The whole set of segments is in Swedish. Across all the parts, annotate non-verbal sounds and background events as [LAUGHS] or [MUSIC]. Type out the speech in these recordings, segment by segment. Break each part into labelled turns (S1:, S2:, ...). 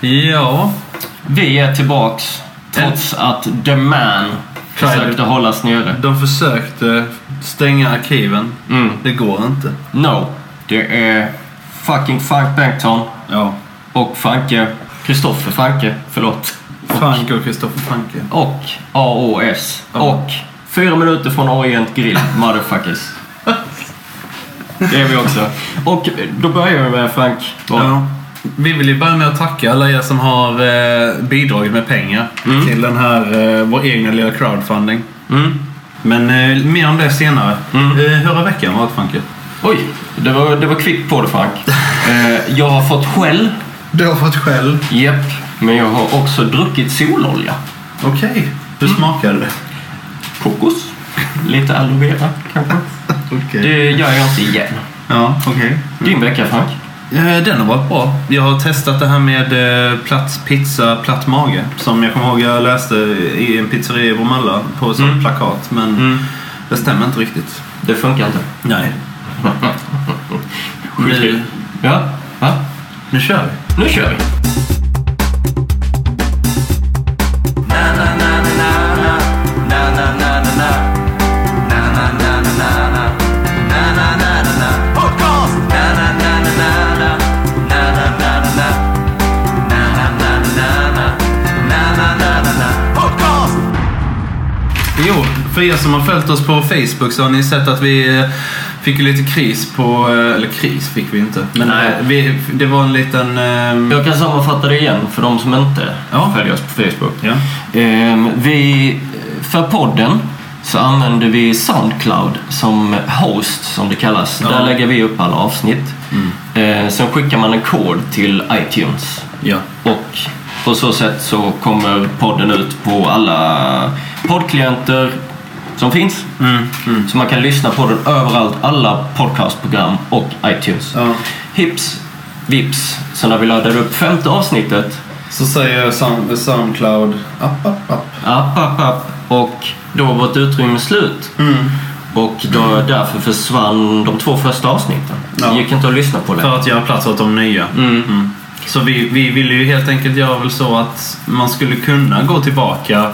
S1: Ja.
S2: Vi är tillbaks trots att The Man
S1: Tried
S2: försökte
S1: it.
S2: hållas nere.
S1: De försökte stänga arkiven.
S2: Mm.
S1: Det går inte.
S2: No. Det är fucking Frank Bengtsson
S1: Ja.
S2: och Franke... Kristoffer Franke, förlåt.
S1: Frank och Kristoffer Franke.
S2: Och AOS.
S1: Ja.
S2: Och fyra minuter från Orient Grill, motherfuckers. Det är vi också. Och då börjar vi med Frank.
S1: Ja. Vi vill ju börja med att tacka alla er som har eh, bidragit med pengar till den här, eh, vår egna lilla crowdfunding.
S2: Mm.
S1: Men eh, mer om det senare. Eh, hur har veckan varit Franke?
S2: Oj, det var, det var kvickt på
S1: [LAUGHS]
S2: det Frank. Eh, jag har fått skäll.
S1: Du har fått själv.
S2: Jep. Men jag har också druckit sololja.
S1: Okej. Hur smakade det?
S2: Kokos. Lite aloe vera kanske.
S1: Okej.
S2: Det gör jag inte igen.
S1: Ja, okej.
S2: Din vecka Frank.
S1: Eh, Den har varit bra. Jag har testat det här med eh, platt pizza, platt mage. Som jag kommer ihåg jag läste i en pizzeria i Bromölla på ett sånt plakat. Men det stämmer inte riktigt.
S2: Det funkar inte.
S1: Mm. Nej.
S2: Skit.
S1: Nu,
S2: Ja, va?
S1: nu kör vi.
S2: Nu kör vi.
S1: Jo, för er som har följt oss på Facebook så har ni sett att vi eh, fick ju lite kris på... eh, Eller kris fick vi inte. Men
S2: Nej.
S1: eh, vi, det var en liten... eh,
S2: Jag kan sammanfatta det igen för de som inte
S1: Ja.
S2: följer oss på Facebook.
S1: Ja.
S2: Ehm, vi, för podden så använder vi Soundcloud som host som det kallas.
S1: Ja.
S2: Där lägger vi upp alla avsnitt. Ehm, sen skickar man en kod till iTunes.
S1: Ja.
S2: Och på så sätt så kommer podden ut på alla poddklienter som finns.
S1: Mm. Mm.
S2: Så man kan lyssna på den överallt, alla podcastprogram och iTunes.
S1: ja.
S2: Hips, vips. Så när vi laddar upp femte avsnittet
S1: Så säger Sound, Soundcloud... App, app, app.
S2: App, app, app. Och då var vårt utrymme slut.
S1: Mm.
S2: Och då, därför försvann de två första avsnitten.
S1: Ja.
S2: Det gick inte att lyssna på längre.
S1: För att göra plats åt de nya.
S2: Mm.
S1: Mm. Så vi, vi ville ju helt enkelt göra väl så att man skulle kunna gå tillbaka.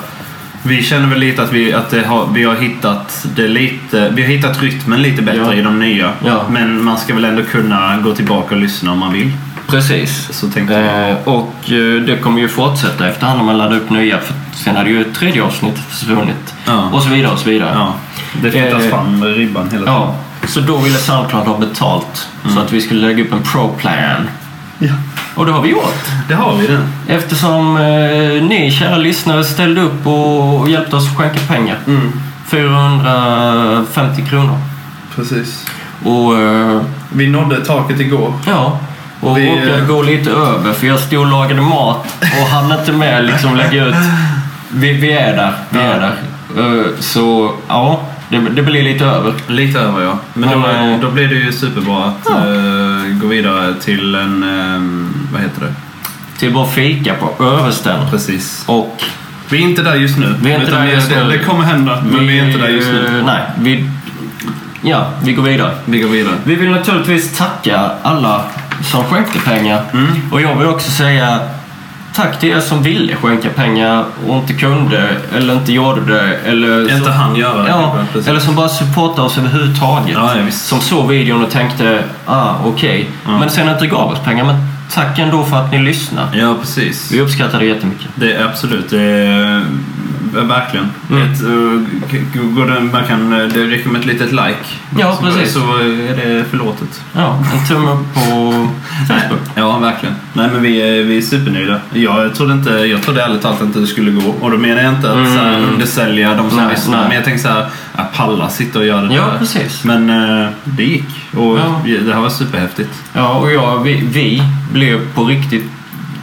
S1: Vi känner väl lite att vi, att det har, vi har hittat det lite, vi har hittat rytmen lite bättre
S2: Ja.
S1: i de nya.
S2: Ja.
S1: Men man ska väl ändå kunna gå tillbaka och lyssna om man vill.
S2: Precis.
S1: Så tänkte jag.
S2: Eh, och eh, det kommer ju fortsätta efterhand när man laddar upp nya. För sen hade ju ett tredje avsnitt försvunnit.
S1: Ja.
S2: Och så vidare och så vidare.
S1: Ja, det flyttas
S2: Eh,
S1: fram med ribban hela tiden.
S2: Ja. Så då ville Soundcloud ha betalt. Så
S1: Mm.
S2: att vi skulle lägga upp en pro-plan.
S1: Ja.
S2: Och det har vi gjort.
S1: Det har vi den.
S2: Eftersom eh, ni kära lyssnare ställde upp och, och hjälpte oss skänka pengar.
S1: Mm.
S2: 450 kronor.
S1: Precis.
S2: Och eh,
S1: Vi nådde taket igår.
S2: ja, och
S1: Vi,
S2: råkade
S1: eh,
S2: gå lite över för jag stod och lagade mat och hann inte med liksom lägga ut. Vi, vi är där, vi är där. Eh, så ja, det, det blir lite över.
S1: Lite över ja. Men
S2: Men, eh,
S1: då, då blir det ju superbra att
S2: Ja.
S1: eh, gå vidare till en, eh, vad heter det?
S2: Till vår fika på Översten.
S1: Precis.
S2: Och
S1: Vi är inte där just nu.
S2: Vi är inte
S1: Utan
S2: där just
S1: det,
S2: nu.
S1: det kommer hända, men vi är inte där just nu.
S2: eh, Nej, vi, ja, vi går vidare.
S1: Vi går vidare.
S2: Vi vill naturligtvis tacka alla som skänkte pengar.
S1: Mm.
S2: Och jag vill också säga tack till er som ville skänka pengar och inte kunde eller inte gjorde det. Eller
S1: Inte typ.
S2: som,
S1: hann göra det.
S2: ja,
S1: precis.
S2: eller som bara supportade oss överhuvudtaget.
S1: Ja, ja, visst.
S2: som såg videon och tänkte, ah okej.
S1: Ja.
S2: Men sen inte gav oss pengar. Men tack ändå för att ni lyssnade.
S1: Ja, precis.
S2: Vi uppskattar det jättemycket.
S1: Det är absolut. Det är, är verkligen.
S2: Mm.
S1: Ett, eh, k- k- går det, man kan, eh, det räcker med ett litet like.
S2: Ja,
S1: så,
S2: precis.
S1: Så är det förlåtet.
S2: Ja, en tumme upp på Facebook.
S1: Ja, verkligen. Nej, men vi är, vi är supernöjda. Jag trodde, inte, jag trodde ärligt talat inte det skulle gå. Och då menar jag inte att
S2: Mm.
S1: så här, undersälja de som
S2: Nej,
S1: lyssnar.
S2: nej.
S1: Men jag tänkte så här, ja, palla sitta och göra det
S2: Ja,
S1: där.
S2: precis.
S1: Men eh, det gick. Och
S2: Ja.
S1: det här var superhäftigt.
S2: Ja, och jag, vi, vi blev på riktigt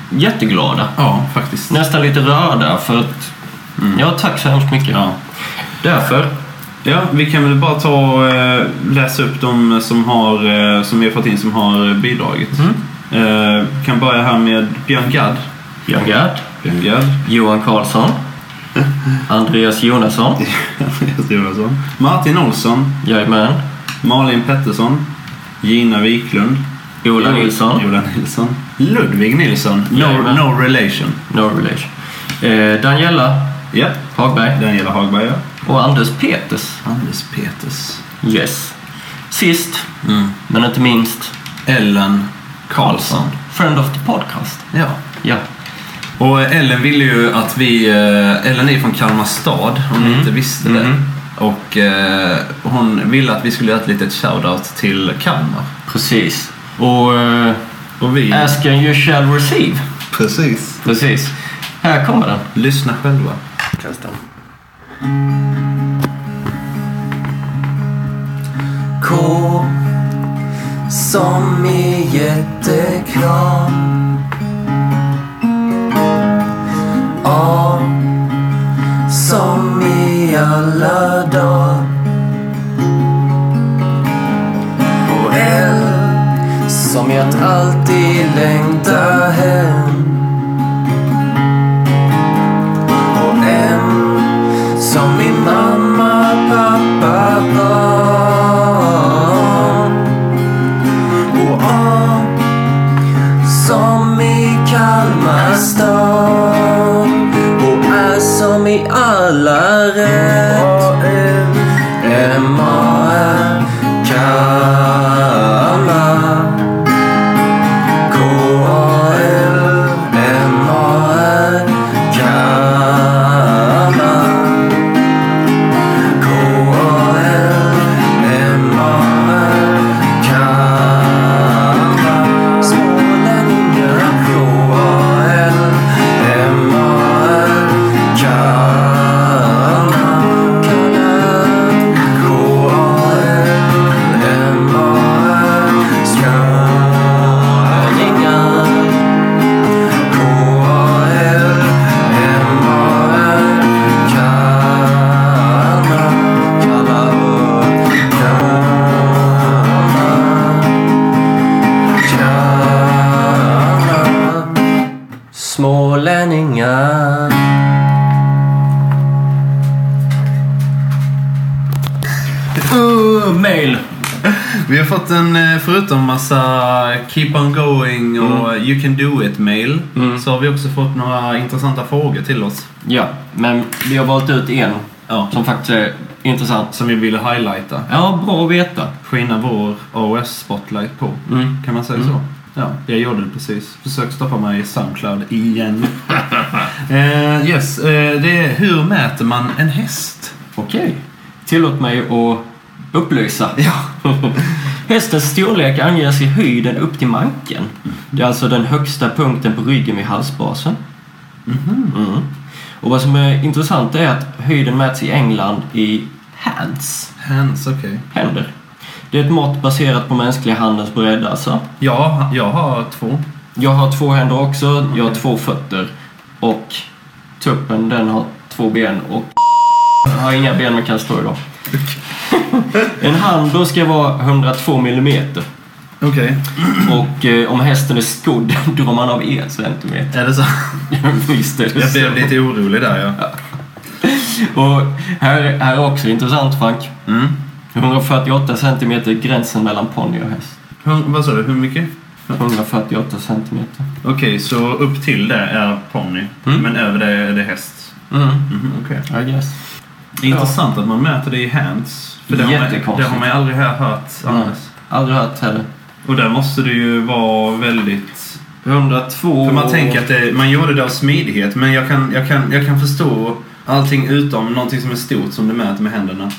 S2: jätteglada.
S1: Ja, faktiskt.
S2: nästan lite rörda för att... Ja, tack så hemskt mycket.
S1: Mm. Ja.
S2: Därför.
S1: ja, vi kan väl bara ta och eh, läsa upp de som, har, eh, som vi har fått in som har eh, bidragit. Eh, kan börja här med Björn Gadd.
S2: Björn Gerd,
S1: Björn [LAUGHS] Gadd.
S2: Johan Karlsson, Andreas Jonasson,
S1: Andreas Johansson. Martin Olsson.
S2: jajamän,
S1: Malin Pettersson. Gina Wiklund. Ola
S2: Nilsson.
S1: Ola Nilsson. Ludvig Nilsson. No,
S2: Jajamän.
S1: no relation.
S2: No relation. Eh, Daniela
S1: Ja.
S2: Hagberg
S1: Daniela Hagberg, ja.
S2: och Anders Peters.
S1: Anders Peters.
S2: Yes. Mm. Sist, men inte minst,
S1: Ellen Karlsson.
S2: Friend of the Podcast.
S1: Ja.
S2: Ja.
S1: Och Ellen ville ju att vi... eh, Ellen är från Kalmar stad, om ni inte visste det.
S2: Mhm.
S1: Och eh, hon ville att vi skulle göra ett litet shoutout till Kalmar.
S2: Precis. Och eh,
S1: Och vi...
S2: Ask and you shall receive.
S1: Precis.
S2: Precis. Här kommer den.
S1: Lyssna själva.
S3: K som i jättekram A som i alla dagar Och L som i att alltid längta hem Och M som min mamma, pappa, barn Och A som i Kalmar stad Och Ä som i alla rätt M, A, Ä, Kalmar K-A-L-M-A-R Kalmar K-A-L-M-A-R Kalmar Smålänningar K-A-L-M-A-R Kalmar Kalmar K-A-L-M-A-R Skåningar Smålänningar
S2: Uh, mail!
S1: Vi har fått en, eh, förutom massa keep on going och you can do it mail, så har vi också fått några intressanta frågor till oss.
S2: Ja, men vi har valt ut en
S1: Ja.
S2: som faktiskt är intressant.
S1: Som vi ville highlighta.
S2: Ja, bra att veta.
S1: Skina vår OS-spotlight på.
S2: Mm.
S1: Kan man säga så? Ja, jag gjorde det precis. Försök stoppa mig i Soundcloud [LAUGHS] igen. Eh, yes, eh, det är hur mäter man en häst?
S2: Okej. Tillåt mig att upplysa. [LAUGHS] Ja. Hästens storlek anges i höjden upp till manken. Det är alltså den högsta punkten på ryggen vid halsbasen. Mm. Och vad som är intressant är att höjden mäts i England i hands,
S1: Hands, okej.
S2: händer. Det är ett mått baserat på mänskliga handens bredd alltså.
S1: Ja, jag har två.
S2: Jag har två händer också, jag har två fötter och tuppen den har två ben och har inga ben men
S1: [LAUGHS]
S2: kan stå idag. En hand då ska vara 102 millimeter
S1: Okej.
S2: och eh, om hästen är skodd [LAUGHS] drar man av 1 centimeter. [LAUGHS]
S1: Är det [LAUGHS] så?
S2: Visst är det
S1: Jag
S2: så.
S1: blev lite orolig där ja.
S2: Och här, här är också intressant Frank.
S1: Mm.
S2: 148 centimeter är gränsen mellan ponny och häst.
S1: Hur, vad sa du, hur mycket?
S2: 148 centimeter.
S1: Okej, så upp till det är ponny,
S2: Mm.
S1: men över det är det häst.
S2: Mm,
S1: Mhm, okej.
S2: I guess.
S1: Det är intressant att man mäter det i hands. För det har, man, det
S2: Jättekonstigt.
S1: har man ju aldrig här hört annars.
S2: Mm. Aldrig hört heller.
S1: Och där måste det ju vara väldigt...
S2: 102...
S1: För man tänker att det, man gjorde det av smidighet, men jag kan, jag, kan, jag kan förstå allting utom någonting som är stort som du mäter med händerna.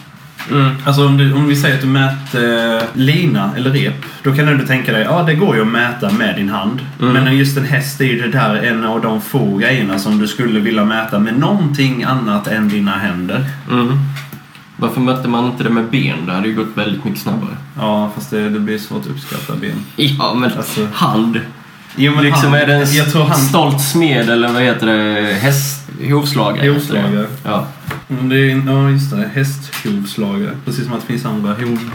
S2: Mm.
S1: Alltså om, du, om vi säger att du mäter eh, lina eller rep, då kan du ändå tänka dig ja, det går ju att mäta med din hand. Men just en häst är ju det där en av de få grejerna som du skulle vilja mäta med någonting annat än dina händer.
S2: Mm. Varför mötte man inte det med ben? Det hade ju gått väldigt mycket snabbare.
S1: Ja, fast det, det blir svårt att uppskatta ben.
S2: Ja, men
S1: Alltså-
S2: hand.
S1: Jo, men
S2: liksom
S1: han-
S2: är det en
S1: jag tror han,
S2: stolt smed eller vad heter det? Häst... Hovslagare. heter det.
S1: Hovslagare.
S2: Ja.
S1: Mm, Det är, ja, just det. Hästhovslagare. Precis som att det finns andra hov,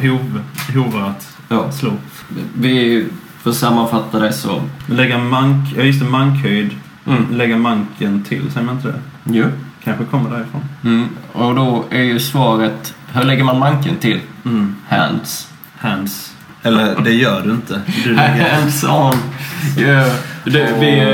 S1: hov, hovar att
S2: ja.
S1: slå.
S2: Vi får sammanfatta det så.
S1: Lägga mank... Ja, just det. Mankhöjd.
S2: Mm.
S1: Lägga manken till, säger man inte det?
S2: Jo.
S1: Kanske kommer därifrån.
S2: Mm. Och då är ju svaret... Hur lägger man manken till? Hands.
S1: Hands. Mm. Eller det gör du inte. [LAUGHS] Du ligger...
S2: Hands on. Yeah. Det, vi, eh,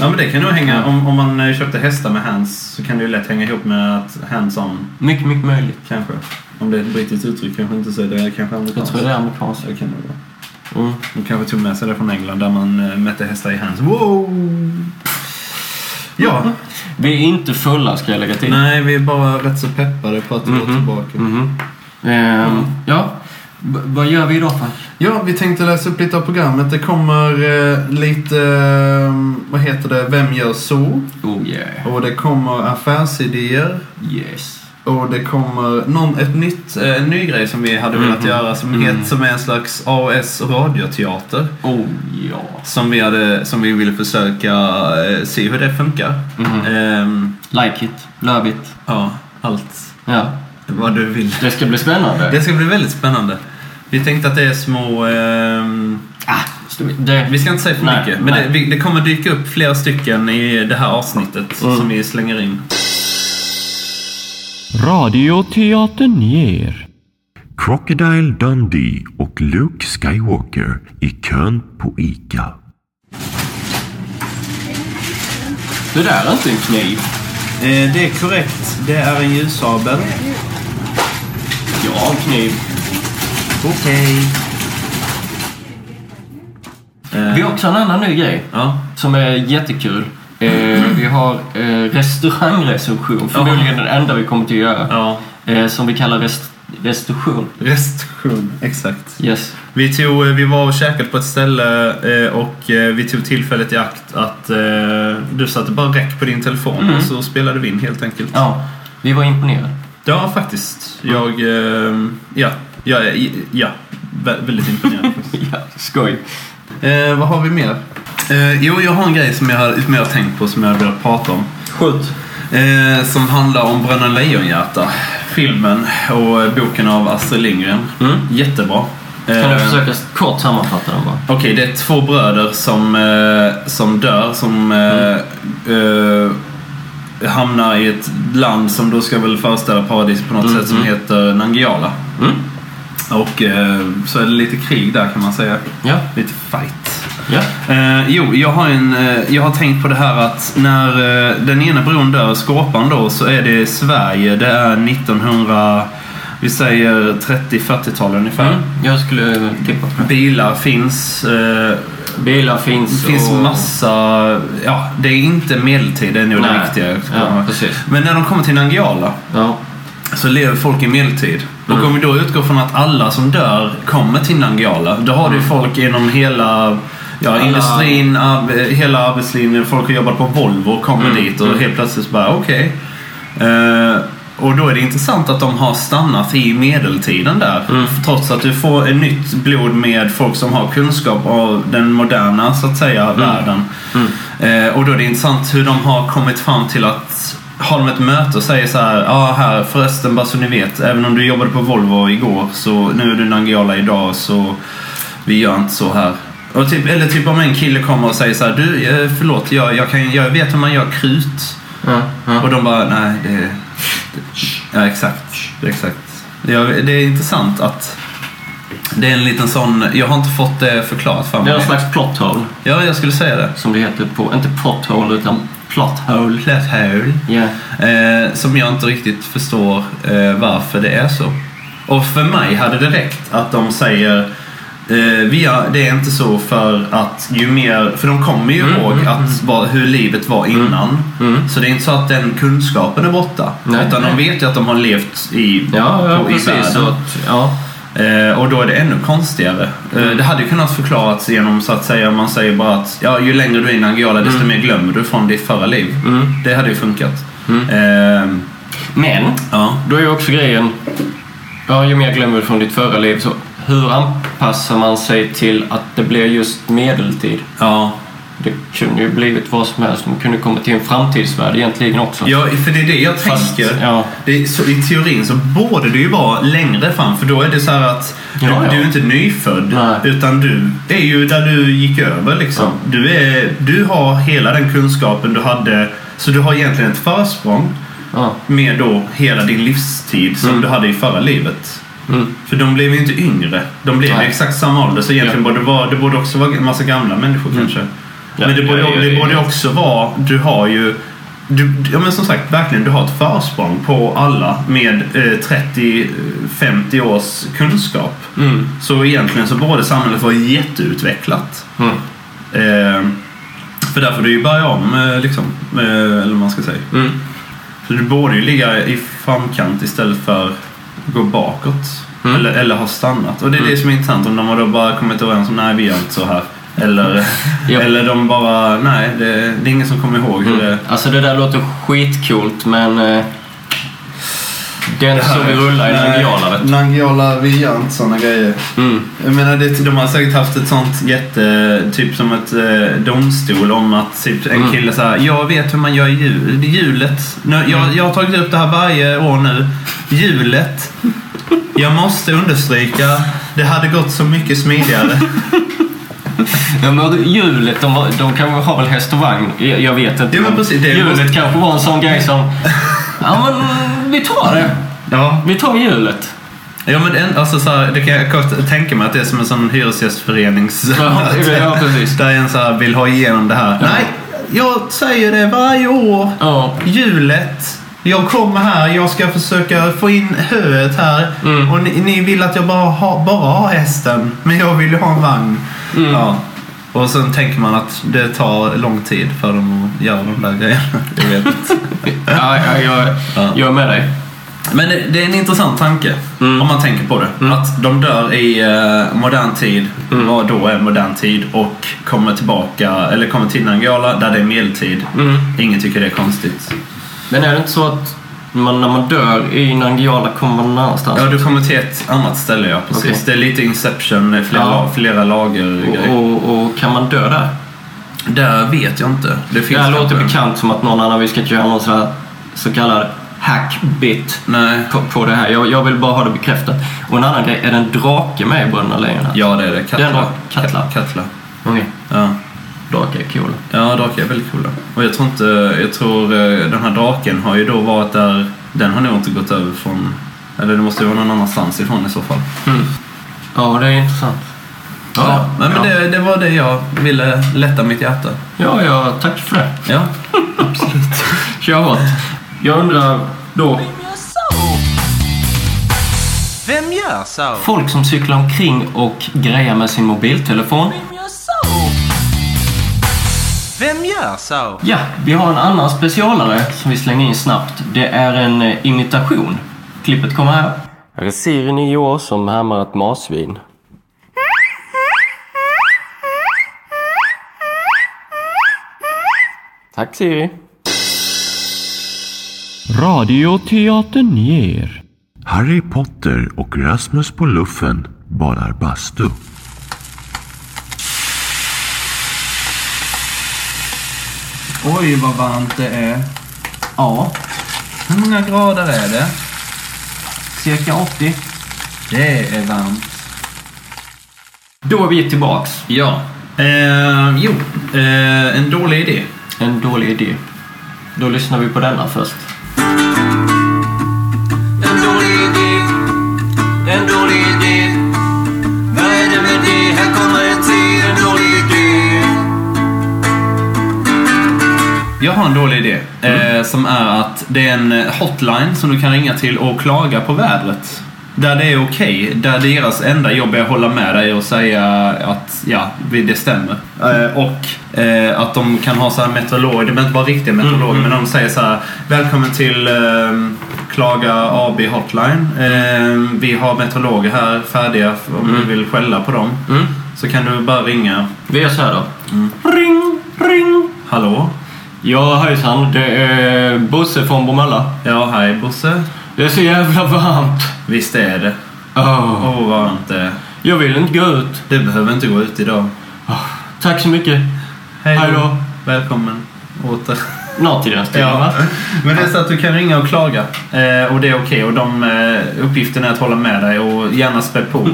S1: Ja men det kan nog hänga, om, om man eh, köpte hästar med hands så kan det ju lätt hänga ihop med att hands-on
S2: mycket, mycket möjligt.
S1: kanske. Om det är ett brittiskt uttryck kanske inte så är det kanske
S2: Jag
S1: amerikanskt.
S2: tror det är amerikanskt.
S1: det kan det vara.
S2: Mm.
S1: De kanske tog med sig det från England där man eh, mätte hästar i hands. Wow! Ja,
S2: Vi är inte fulla ska jag lägga till.
S1: nej vi är bara rätt så peppade på att gå
S2: Mhm.
S1: tillbaka.
S2: Mhm. Ehm, Ja, B- vad gör vi idag Frank?
S1: Ja, vi tänkte läsa upp lite av programmet. Det kommer eh, lite, eh, vad heter det, Vem gör så?
S2: Oh yeah.
S1: Och det kommer affärsidéer.
S2: Yes.
S1: Och det kommer någon, ett nytt, eh, en ny grej som vi hade velat
S2: Mhm.
S1: göra som,
S2: Mm.
S1: het, som är en slags AOS radioteater.
S2: Oh ja.
S1: Som vi, hade, som vi ville försöka eh, se hur det funkar.
S2: Mhm.
S1: Ehm,
S2: Like it, love it.
S1: ja, allt
S2: Ja,
S1: vad du vill.
S2: det ska bli spännande.
S1: Det ska bli väldigt spännande. Vi tänkte att det är små... ehm,
S2: Ah, det...
S1: Vi ska inte säga för
S2: Nej,
S1: mycket, men
S2: nej.
S1: det, vi, det kommer dyka upp flera stycken i det här avsnittet
S2: Mm.
S1: som vi slänger in.
S4: Radioteatern ger
S5: Crocodile Dundee och Luke Skywalker i kön på ICA.
S2: Det där är inte en kniv.
S1: Eh, det är korrekt. Det är en ljussabel.
S2: Ja, en kniv.
S1: Okej.
S2: Vi har också en annan ny grej
S1: Ja.
S2: som är jättekul. Eh, vi har eh, restaurangrecension, förmodligen den enda vi kommer att göra.
S1: ja.
S2: Eh, som vi kallar rest- restitution.
S1: Restriktion. Exakt.
S2: Yes.
S1: Vi, tog, eh, vi var och käkade på ett ställe eh, och eh, vi tog tillfället i akt att eh, du satte bara räck på din telefon och så spelade vi in helt enkelt.
S2: Ja, vi var imponerade.
S1: Ja, faktiskt. Jag... Eh, ja. Ja, ja, ja. Vä- Väldigt imponerad. [LAUGHS] faktiskt.
S2: Ja, skoj.
S1: Eh, vad har vi mer? Eh, jo, jag har en grej som jag, har- som jag har tänkt på som jag vill prata om.
S2: Skönt.
S1: Eh, som handlar om Bröderna Lejonhjärta. Filmen och eh, boken av Astrid Lindgren.
S2: Mm.
S1: Jättebra.
S2: Kan du
S1: Eh,
S2: försöka kort sammanfatta den bara?
S1: Okej, det är två bröder som, eh, som dör, som eh, eh, hamnar i ett land som då ska väl föreställa paradis på något sätt som heter Nangiala.
S2: Mm.
S1: Och eh, så är det lite krig där kan man säga.
S2: Ja,
S1: Lite fight.
S2: ja.
S1: Eh, jo, jag har, en, eh, jag har tänkt på det här att när eh, den ena bron dör, Skåpan då, så är det Sverige. Det är 1900, vi säger 30-40-tal ungefär.
S2: Mm. Jag skulle tippa på det.
S1: Bilar finns. eh,
S2: Bilar finns
S1: det finns
S2: och...
S1: massa, ja det är inte medeltid, det är nog det
S2: Nej.
S1: viktiga.
S2: Ja, precis.
S1: Men när de kommer till Nangijala
S2: Ja.
S1: så lever folk i medeltid.
S2: Mm.
S1: Och om vi då utgår från att alla som dör kommer till Nangijala, då har du ju folk inom hela ja,
S2: Mm. Alla-
S1: industrin, ab, hela arbetslinjen. Folk har jobbat på Volvo och kommer
S2: Mm,
S1: dit och
S2: mm.
S1: helt plötsligt så bara okej. Eh, och då är det intressant att de har stannat i medeltiden där. Trots att du får en nytt blod med folk som har kunskap av den moderna så att säga världen. Eh, och då är det intressant hur de har kommit fram till att har de ett möte och säger så här, ja ah, här förresten bara så ni vet, även om du jobbade på Volvo igår så nu är du Nangijala idag så vi gör inte så här. Och typ, eller typ om en kille kommer och säger så här, du eh, förlåt jag, jag, kan, jag vet hur man gör krut.
S2: Ja, ja.
S1: Och de bara, nej det... det ja, exakt. Det är exakt. Ja, det är intressant att det är en liten sån... Jag har inte fått det förklarat för
S2: Det är
S1: mig.
S2: någon slags plot hole,
S1: Ja, jag skulle säga det.
S2: som det heter på... Inte plot hole, utan plot hole.
S1: Flat hole.
S2: Ja.
S1: Eh, som jag inte riktigt förstår eh, varför det är så. Och för mig hade det räckt att de säger eh, vi har, det är inte så för att ju mer, för de kommer ju
S2: Mm,
S1: ihåg att, vad, hur livet var innan. Så det är inte så att den kunskapen är borta.
S2: Nej.
S1: utan de vet ju att de har levt i,
S2: Ja, ja
S1: på, i
S2: precis.
S1: världen.
S2: Så att, ja.
S1: Eh, och då är det ännu konstigare.
S2: Mm.
S1: Eh, det hade ju kunnat förklaras genom så att säga, man säger bara att ja, ju längre du är i Nangijala desto
S2: Mm.
S1: mer glömmer du från ditt förra liv. Det hade ju funkat.
S2: Mm.
S1: Eh,
S2: Men,
S1: ja.
S2: då är ju också grejen... Ja, ju mer glömmer du från ditt förra liv, så hur anpassar man sig till att det blir just medeltid?
S1: Ja.
S2: Det kunde ju blivit vad som helst. Man kunde komma till en framtidsvärld egentligen också.
S1: ja, för det är det jag
S2: Fast,
S1: tänker.
S2: ja.
S1: Det är, så, I teorin så borde det ju vara längre fram för då är det så här att
S2: Ja,
S1: du,
S2: ja.
S1: du är inte nyfödd
S2: Nej.
S1: utan du är ju där du gick över liksom.
S2: Ja.
S1: Du, är, du har hela den kunskapen du hade så du har egentligen ett försprång.
S2: Ja. Mm.
S1: med då hela din livstid som du hade i förra livet. För de blev ju inte yngre. De blev ju
S2: Nej.
S1: exakt samma ålder. Så egentligen borde det vara, det borde också vara en massa gamla människor kanske.
S2: Mm. Ja,
S1: Men det borde,
S2: ja, ja,
S1: det
S2: ja.
S1: borde också vara, du har ju du, ja, men som sagt, verkligen, du har ett försprång på alla med eh, 30-50 års kunskap.
S2: Mm.
S1: Så egentligen så borde samhället vara jätteutvecklat.
S2: Mm.
S1: Eh, för där får du ju börja om, eh, liksom. Eh, eller vad man ska säga.
S2: Mm.
S1: Så du borde ju ligga i framkant istället för att gå bakåt.
S2: Mm.
S1: Eller, eller ha stannat. Och det är det som är intressant. Om de har då bara kommit överens om nej, vi gör inte så här. [LAUGHS] Eller,
S2: Mm. Ja.
S1: eller de bara, nej, det, det är ingen som kommer ihåg hur det...
S2: Alltså det där låter skitcoolt men... Eh, det är inte så vi rullar i Nangijala vet du.
S1: Nangijala, vi gör inte sådana grejer.
S2: Mm.
S1: Jag menar, det, de har säkert haft ett sånt jätte... Typ som ett eh, domstol om att typ, en
S2: Mm.
S1: kille såhär, jag vet hur man gör jul, hjulet. Nu,
S2: Mm.
S1: jag, jag har tagit upp det här varje år nu. Hjulet. Jag måste understryka, det hade gått så mycket smidigare.
S2: Ja, men hjulet, de, var- de kanske har väl häst och vagn? Jag, jag vet inte.
S1: Ja, men precis, det är-
S2: hjulet kanske var en sån
S1: [LAUGHS]
S2: grej som... Ja men vi tar det.
S1: Ja,
S2: Vi tar hjulet.
S1: ja men en, alltså, så här, det kan jag kort tänka mig att det är som en sån hyresgästförenings...
S2: Ja, ja, precis.
S1: [LAUGHS] Där en så här vill ha igenom det här. Nej, jag säger det varje år.
S2: Ja.
S1: hjulet. Jag kommer här, jag ska försöka få in höet här.
S2: Mm.
S1: Och ni, ni vill att jag bara har bara har hästen, men jag vill ju ha en vagn.
S2: Mm.
S1: Ja. Och sen tänker man att det tar lång tid för dem att göra de där grejerna. [LAUGHS] Jag vet inte.
S2: Ja, ja, jag,
S1: Ja.
S2: jag är med dig.
S1: Men det, det är en intressant tanke
S2: Mm.
S1: om man tänker på det.
S2: Mm.
S1: Att de dör i eh, modern tid, vad då är modern tid och kommer tillbaka, eller kommer till Nangijala där det är medeltid.
S2: Mm.
S1: Ingen tycker det är konstigt.
S2: Men är det inte så att man, när man dör i Nangijala kommer man någon annanstans?
S1: Ja, du kommer till ett annat ställe ja, precis.
S2: Okej.
S1: Det är lite Inception, det är flera,
S2: Ja.
S1: flera lager
S2: och,
S1: grejer.
S2: och, och kan man dö där?
S1: Där vet jag inte. Det
S2: Det
S1: finns
S2: här
S1: kanske
S2: låter
S1: en-
S2: bekant som att någon annan, vi ska inte göra någon sån här så kallad hackbit
S1: Nej.
S2: på, på det här. Jag, jag vill bara ha det bekräftat. Och en annan grej, är det en drake med i Bröderna Lejonhjärta?
S1: Ja, det är det. Katla.
S2: Den var- Katla.
S1: Katla.
S2: Okej,
S1: Ja.
S2: drake är cool.
S1: Ja, drakar är väldigt coola. Och jag tror inte... Jag tror eh, den här draken har ju då varit där... Den har nog inte gått över från... Eller det måste ju vara någon annanstans ifrån i så fall.
S2: Ja, det är intressant.
S1: Nej, men
S2: ja.
S1: Det, det var det jag ville lätta mitt hjärta.
S2: ja, ja, tack för det.
S1: Ja.
S2: Kör hårt. Jag undrar då,
S3: Vem gör så?
S2: folk som cyklar omkring och grejar med sin mobiltelefon.
S3: Vem gör så?
S2: Ja, vi har en annan specialare som vi slänger in snabbt. Det är en eh, imitation. Klippet kommer här. Här är Siri, 9 år, som hämmar ett marsvin. Tack Siri.
S4: Radioteatern ger.
S5: Harry Potter och Rasmus på luffen badar bastu.
S1: Oj, vad varmt det är.
S2: Ja,
S1: Hur många grader är det?
S2: cirka 80.
S1: Det är varmt.
S2: Då är vi tillbaks.
S1: Ja. Eh, jo, eh, en dålig idé.
S2: En dålig idé. Då lyssnar vi på denna först.
S3: En dålig idé. En dålig idé. Vad är det med det? Här kommer en till. En dålig idé.
S1: Jag har en dålig idé. Eh, som är att det är en eh, hotline som du kan ringa till och klaga på vädret. Där det är okej. där deras enda jobb är att hålla med dig och säga att ja, vi- det stämmer. Eh, och eh, att de kan ha så här meteorologer. De är inte bara riktiga meteorologer. Men de säger så här. Välkommen till ehm, Klaga AB Hotline. Ehm, vi har meteorologer här färdiga om du vill skälla på dem. Så kan du bara ringa.
S2: Vi gör så här då. Ring, ring.
S1: Hallå?
S2: Mm. Ja, hejsan. Det är Bosse från Bromölla.
S1: Ja, hej Bosse.
S2: Det är så jävla varmt.
S1: Visst är det.
S2: Åh,
S1: Åh, vad varmt det är.
S2: jag vill inte gå ut.
S1: Du behöver inte gå ut idag.
S2: Tack så mycket. Hej då.
S1: Välkommen åter.
S2: Något i den stilen, va? [LAUGHS]
S1: Ja. Men det är så att du kan ringa och klaga. Eh, och det är okej. Och de eh, uppgiften är att hålla med dig och gärna spä på.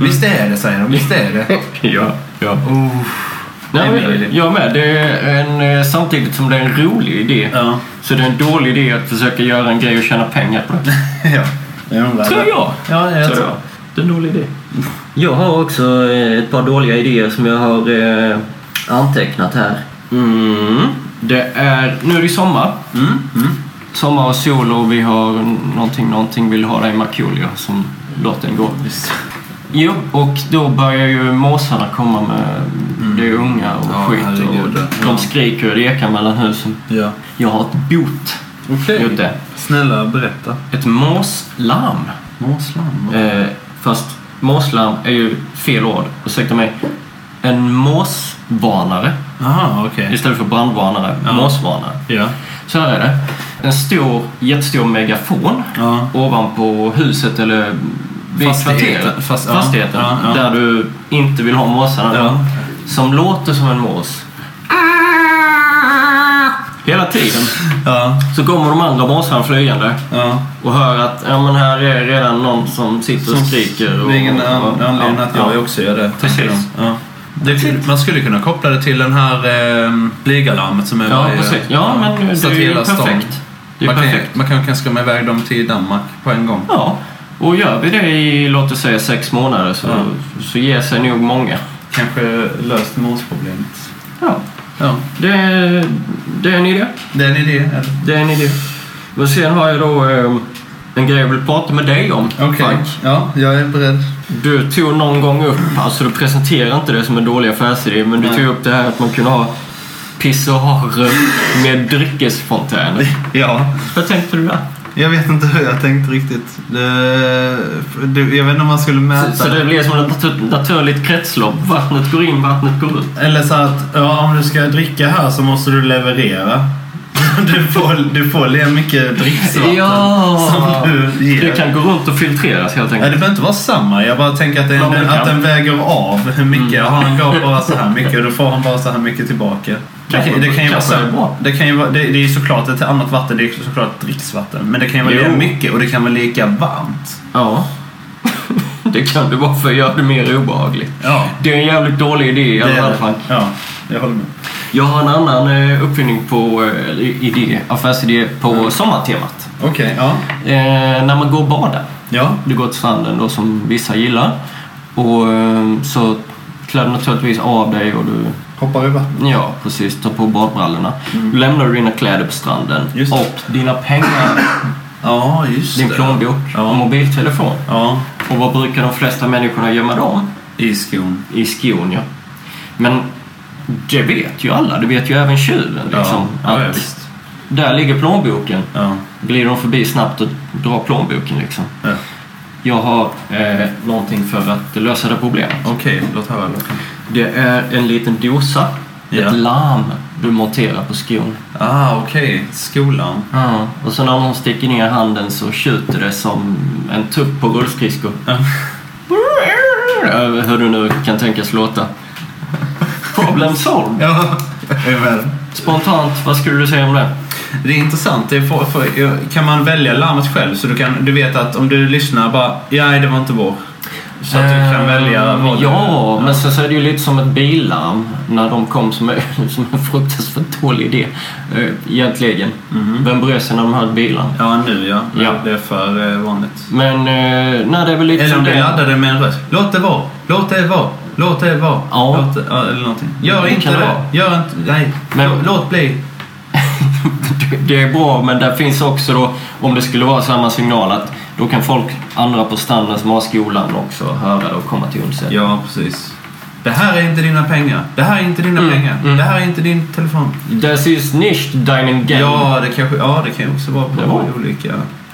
S1: Visst är det, säger de. Visst är det.
S2: Ja. ja.
S1: Oh.
S2: Nej,
S1: Det är min
S2: men,
S1: idé.
S2: jag med. Det är en, eh, samtidigt som det är en rolig idé
S1: Ja. [LAUGHS]
S2: så det är en dålig idé att försöka göra en grej och tjäna pengar på det.
S1: ja. Jag undrar-
S2: Tror jag.
S1: Ja, jag tror.
S2: Det är en dålig idé.
S6: Jag har också eh, ett par dåliga idéer som jag har eh, antecknat här.
S2: Mm. Det är, nu är det sommar.
S1: Mm,
S2: Sommar och sol och vi har någonting, någonting vill ha dig Markoolio som låten går.
S1: [LAUGHS]
S2: Jo, och då börjar ju måsarna komma med det är unga och
S1: Mm. Ja,
S2: skit och
S1: herregud, ja.
S2: de skriker och det ekar mellan husen.
S1: Ja.
S2: Jag har ett bot
S1: Okej.
S2: mot det.
S1: Snälla berätta.
S2: Ett måslarm.
S1: Måsland.
S2: Eh, fast måslarm är ju fel ord. Ursäkta mig. En måsvarnare
S1: Jaha, okej.
S2: istället för brandvarnare.
S1: Ja.
S2: Måsvarnare.
S1: Ja.
S2: Så här är det. En stor, jättestor megafon
S1: Ja.
S2: ovanpå huset eller vid
S1: Fastigheten.
S2: kvarteret.
S1: Fast- ja.
S2: fastigheten.
S1: Ja, ja.
S2: Där du inte vill ha måsarna.
S1: Ja.
S2: Som låter som en mås. Hela tiden
S1: Ja.
S2: så kommer de andra måsarna flygande
S1: Ja.
S2: och hör att ja, men här är redan någon som sitter och skriker. Och,
S1: Det är ingen an-
S2: och- och-
S1: anledning att jag
S2: ja.
S1: också gör det.
S2: Precis.
S1: tänker de. Ja. Det, man skulle kunna koppla det till den här eh, flygalarmet som är
S2: Ja,
S1: varje-
S2: precis. Ja, men det
S1: så
S2: är
S1: att
S2: ju
S1: hela stan-
S2: perfekt. Det är
S1: Man kan, ju-
S2: perfekt.
S1: man kan kanske skrämma iväg dem till Danmark på en gång.
S2: Ja, och gör vi det i låt oss säga sex månader så,
S1: Ja.
S2: så ger sig nog många.
S1: Kanske löst måsproblemet.
S2: Ja,
S1: Ja,
S2: det är, det är en idé.
S1: det är en idé. eller?
S2: Det är en idé. Men sen har jag då eh, en grej jag vill prata med dig om, Frank.
S1: Ja, jag är beredd.
S2: Du tog någon gång upp, alltså du presenterade inte det som en dålig affärsidé, men du
S1: Nej.
S2: tog upp det här att man kunde ha pissoarer med dryckesfontäner.
S1: Ja,
S2: [LAUGHS] Vad tänkte du där?
S1: jag vet inte hur jag tänkte riktigt. Det, det, jag vet inte om man skulle mäta.
S2: Så, så det blir som ett natur- naturligt kretslopp. Vattnet går in, vattnet går ut.
S1: Eller så att ja, om du ska dricka här så måste du leverera. [LAUGHS] Du får, du får le mycket dricksvatten som du ger.
S2: Det kan gå runt och filtreras helt
S1: Nej, det
S2: enkelt.
S1: behöver inte vara samma. Jag bara tänker att, det,
S2: Ja, men det
S1: att
S2: kan.
S1: den
S2: Mm.
S1: väger av hur mycket. Han gav bara så här mycket och då får han bara så här mycket tillbaka. Det
S2: Kanske-
S1: kan, det kan ju vara
S2: kanske är
S1: samma.
S2: bra.
S1: Det, kan ju vara, det, det är ju såklart ett annat vatten. Det är ju såklart dricksvatten. Men det kan ju vara
S2: Jo.
S1: lika mycket och det kan vara lika varmt.
S2: Ja. det kan det vara för att göra det mer obehagligt.
S1: Ja.
S2: Det är en jävligt dålig idé i alla fall Frank.
S1: Ja, jag håller med.
S2: Jag har en annan eh, uppfinning på eh, idé, affärsidé på
S1: Mm.
S2: sommartemat.
S1: Okej, ja.
S2: Eh, när man går och badar.
S1: Ja.
S2: Du går till stranden då som vissa gillar. Och eh, så klär du naturligtvis av dig och du
S1: Hoppar över.
S2: Ja, precis. Ta på badbrallorna. Då lämnar du dina kläder på stranden.
S1: Mm. Just det.
S2: Och dina pengar,
S1: Ja, just
S2: din
S1: det.
S2: plånbok
S1: Ja.
S2: och mobiltelefon.
S1: Ja,
S2: Och vad brukar de flesta människorna gömma dem?
S1: i skon.
S2: I skon, ja. Men det vet ju alla. Det vet ju även tjuven. Liksom,
S1: ja, ja,
S2: att
S1: visst.
S2: där ligger plånboken.
S1: Ja.
S2: Glider de förbi snabbt och drar plånboken liksom.
S1: Ja.
S2: Jag har eh, någonting för att lösa det problemet.
S1: Okej, låt höra. låt höra.
S2: Det är en liten dosa.
S1: Ja.
S2: Ett larm du monterar på skon.
S1: Ah, okej. Skolan.
S2: Ja, och så när hon sticker ner handen så tjuter det som en tupp på rullskridskor.
S1: Ja.
S2: Över Hur du nu kan
S1: [LAUGHS]
S2: tänkas låta. Problem solved.
S1: Ja, [LAUGHS] jag är med.
S2: Spontant, vad skulle du säga om det?
S1: Det är intressant. Det är för, för, kan man välja larmet själv så du, kan, du vet att om du lyssnar bara ja, det var inte vår. Så att du kan välja vad du...
S2: Eh, Ja, men sen så är det ju lite som ett billarm när de kom som, [LAUGHS] är, som en fruktansvärt dålig idé. eh, Egentligen.
S1: Mhm.
S2: Vem bryr sig när de hörde bilarm?
S1: Ja, nu ja.
S2: Ja.
S1: Det är för eh, vanligt.
S2: Men eh, nej, det är väl lite
S1: Eller
S2: som
S1: om du
S2: det.
S1: laddar det med en röst. Låt det vara. Låt det vara. Låt det vara.
S2: Ja.
S1: Låt det, ja, eller någonting. Gör
S2: Det
S1: inte
S2: kan
S1: det.
S2: det vara.
S1: Gör inte... Nej.
S2: Men-
S1: Lå- Låt bli.
S2: [LAUGHS] Det är bra, men där finns också då, om det skulle vara samma signal, att då kan folk, andra på stranden som har skolan också, höra det och komma till undsättning.
S1: Ja, precis. Det här är inte dina pengar. Det här är inte dina
S2: Mm.
S1: pengar. Det här är inte din telefon.
S2: This is nicht deinen Geld.
S1: Ja, det kanske, ja, det kan ju också vara på
S2: Det var-
S1: olika...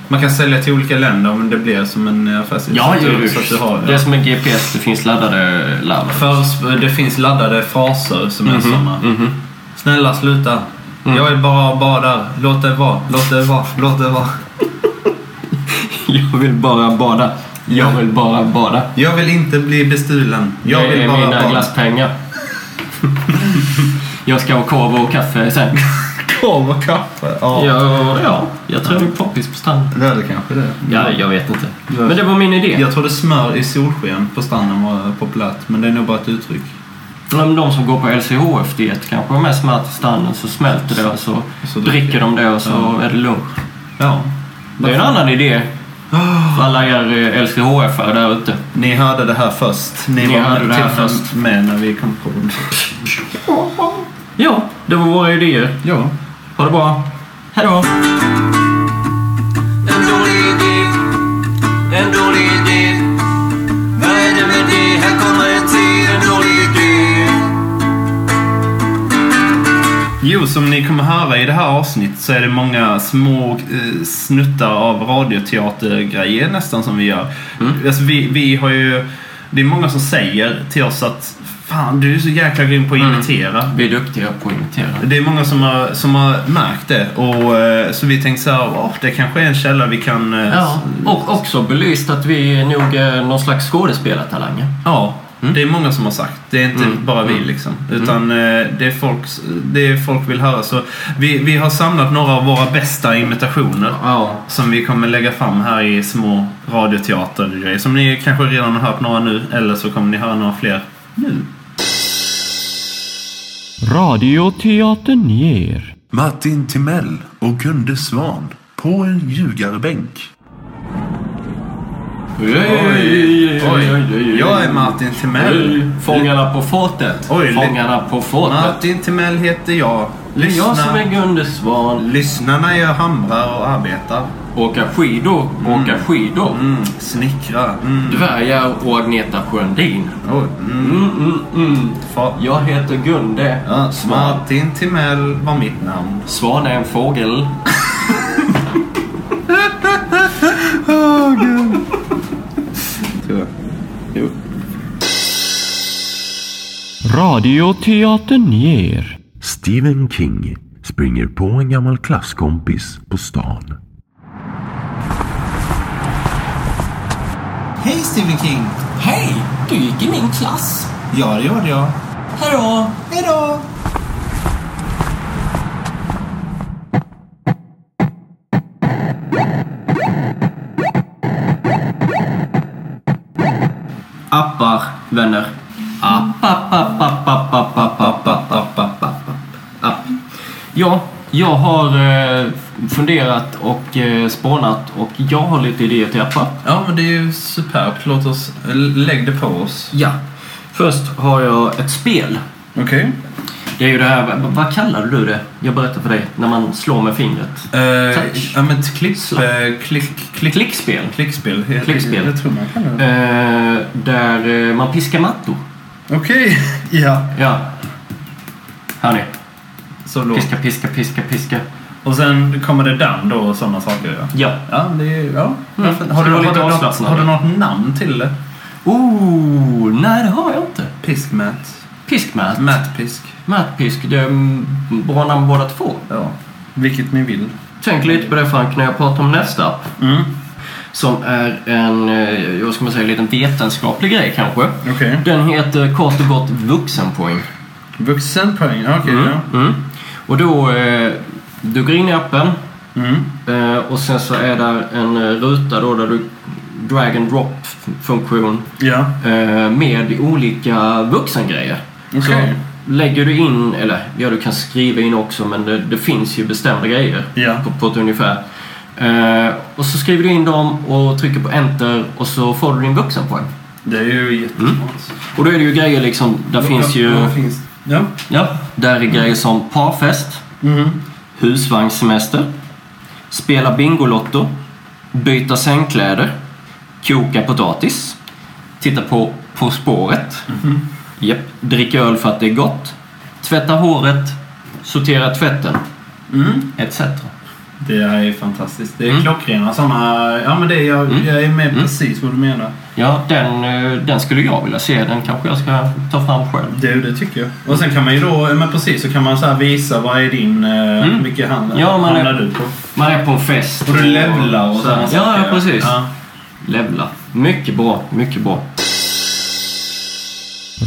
S1: Man kan sälja till olika länder men det blir som en eh, affärsidé.
S2: ja,
S1: så, att du-
S2: ju,
S1: så att du har,
S2: Det är som en GPS, det finns laddade larm.
S1: För, det finns laddade fraser som
S2: Mhm,
S1: är såna. Snälla sluta.
S2: Mm.
S1: Jag är bara badar. Låt det vara. Låt det vara. Låt det vara.
S2: [LAUGHS] Jag vill bara bada. Jag vill bara bada.
S1: Jag vill inte bli bestulen. Jag
S2: det
S1: vill
S2: är
S1: bara
S2: mina
S1: bada.
S2: glasspengar. [LAUGHS] jag ska ha korv och kaffe sen.
S1: Korv och kaffe. Ja.
S2: Ja, ja jag tror det är poppis på stranden.
S1: Det är det kanske det.
S2: Ja, jag vet inte. Men det var min idé.
S1: Jag trodde smör i solsken på stranden var populärt. Men det är nog bara ett uttryck.
S2: Ja, men de som går på LCHF-diet kanske har med smör till stranden så smälter det och så,
S1: Så dricker
S2: dricker de det och så
S1: Ja.
S2: är det lunch.
S1: Ja.
S2: Det är en annan idé. För alla er eh, LCHF-are där ute.
S1: Ni hörde det här först. Ni,
S2: Ni
S1: var
S2: hörde det här
S1: till och med
S2: först.
S1: med när vi kom på den.
S2: Ja, det var våra idéer.
S1: Ja.
S2: Ha det bra. Hej då.
S3: En dålig idé, en dålig idé. Vad är det med det? Här kommer en till, en dålig idé.
S1: Jo, som ni kommer höra i det här avsnittet så är det många små eh, snuttar av radioteatergrejer nästan som vi gör. Alltså, vi, vi har ju... Det är många som säger till oss att Fan, du är så jäkla grym på att imitera.
S2: Vi är duktiga på att imitera.
S1: Det är många som har, som har märkt det. Och, eh, så vi tänkte så här, "Åh, det kanske är en källa vi kan... eh,
S2: Ja, och också belyst att vi nog är någon slags skådespelartalanger.
S1: Ja,
S2: Mm.
S1: det är många som har sagt. Det är inte bara vi liksom. Utan eh, det, är folks, det är folk vill höra. Så vi, vi har samlat några av våra bästa imitationer.
S2: Ja.
S1: Som vi kommer lägga fram här i små radioteatergrejer. Som ni kanske redan har hört några nu. Eller så kommer ni höra några fler nu.
S4: Radioteatern ger.
S5: Martin Timell och Gunde Svan på en ljugarbänk.
S2: Oj,
S1: Jag är Martin Timell.
S2: Fångarna på fortet.
S1: Oj,
S2: Fångarna på fortet.
S1: Martin Timell heter jag.
S2: Det är jag som är
S1: Lyssna,
S2: Gunde Svan.
S1: lyssna när jag hamrar och arbetar.
S2: Åka skidor, åka skidor.
S1: Mm, snickra. Mm.
S2: Dvärgar och Agneta Sjöndin.
S1: Oj, mm.
S2: Mm, mm, mm.
S1: Fa-
S2: Jag heter Gunde
S1: Ja,
S2: Svan.
S1: Martin Timell var mitt namn.
S2: Svan är en fågel.
S4: Radioteatern ger.
S5: Stephen King springer på en gammal klasskompis på stan.
S1: Hej Stephen King!
S2: Hej! Du gick i min klass.
S1: Ja, det gjorde jag.
S2: Hallå!
S1: Hejdå!
S2: Appar, vänner. App, app, app, app, app, app, app, app, app, app, app, app, app. Ja, jag har eh, funderat och eh, spånat och jag har lite idéer till appar.
S1: Ja, men det är ju superbt. Låt oss... l- Lägg det på oss.
S2: Ja. Först har jag ett spel.
S1: Okej.
S2: Det är ju det här, vad- vad kallar du det? Jag berättar för dig, när man slår med fingret. Touch.
S1: Eh, ja, men ett klipp...
S2: Slapp.
S1: eh, klick, klick,
S2: Klickspel.
S1: klickspel. Jag-
S2: Klickspel.
S1: Jag tror man kan det.
S2: Eh, där eh, man piskar mattor.
S1: Okej. [LAUGHS] Ja.
S2: Ja. Hör ni?
S1: Så låt.
S2: Piska, piska, piska, piska.
S1: Och sen kommer det damm då och sådana saker. Ja.
S2: Ja.
S1: Ja, det är ju... Ja.
S2: Mm.
S1: Varför- Har, du,
S2: Så det var
S1: har,
S2: lite
S1: du något,
S2: avslappnande.
S1: har du något namn till det?
S2: Oh, nej det har jag inte.
S1: Piskmät.
S2: Piskmät.
S1: Mätpisk.
S2: Mätpisk, det är mm, bra namn båda två.
S1: Ja. Vilket ni vill.
S2: Tänk lite på det Frank när jag pratar om nästa app.
S1: Mm.
S2: Som är en, eh, vad ska man säga, liten vetenskaplig grej kanske.
S1: Okej.
S2: Den heter kort och gott vuxenpoäng.
S1: Vuxenpoäng. Okej, ja.
S2: Mm. Och då, eh, du går in i appen
S1: Mm.
S2: eh, och sen så är där en eh, ruta då där du drag and drop funktion
S1: Ja.
S2: eh, med olika vuxengrejer.
S1: Okej.
S2: Så lägger du in, eller ja du kan skriva in också men det, det finns ju bestämda grejer
S1: Ja.
S2: på, på ett ungefär. Eh, och så skriver du in dem och trycker på enter och så får du din vuxenpoäng.
S1: Det är ju jättesmart.
S2: Och då är det ju grejer liksom, Mm. där finns ju...
S1: Ja, finns. Ja.
S2: Ja, där är grejer som parfest,
S1: Mm.
S2: husvagnssemester, spela Bingolotto, byta sängkläder, koka potatis, titta på På spåret,
S1: Mhm.
S2: japp, dricka öl för att det är gott, tvätta håret, sortera tvätten,
S1: Mm.
S2: etc.
S1: Det här är ju fantastiskt. Det är
S2: Mm.
S1: klockrena sådana... Ja, men det är, jag,
S2: Mm.
S1: jag är med precis vad du menar.
S2: Ja, den, eh, den skulle jag vilja se. Den kanske jag ska ta fram själv.
S1: Det, det tycker jag. Och sen kan man ju då... ja, Men precis, så kan man så här visa vad är din... eh,
S2: Mm.
S1: Vilken hand
S2: Ja, man
S1: hamnar
S2: är-
S1: du på?
S2: Man är på en fest.
S1: Och du levlar och sådana
S2: Ja, ja, precis.
S1: Ja.
S2: Levla. Mycket bra, mycket bra.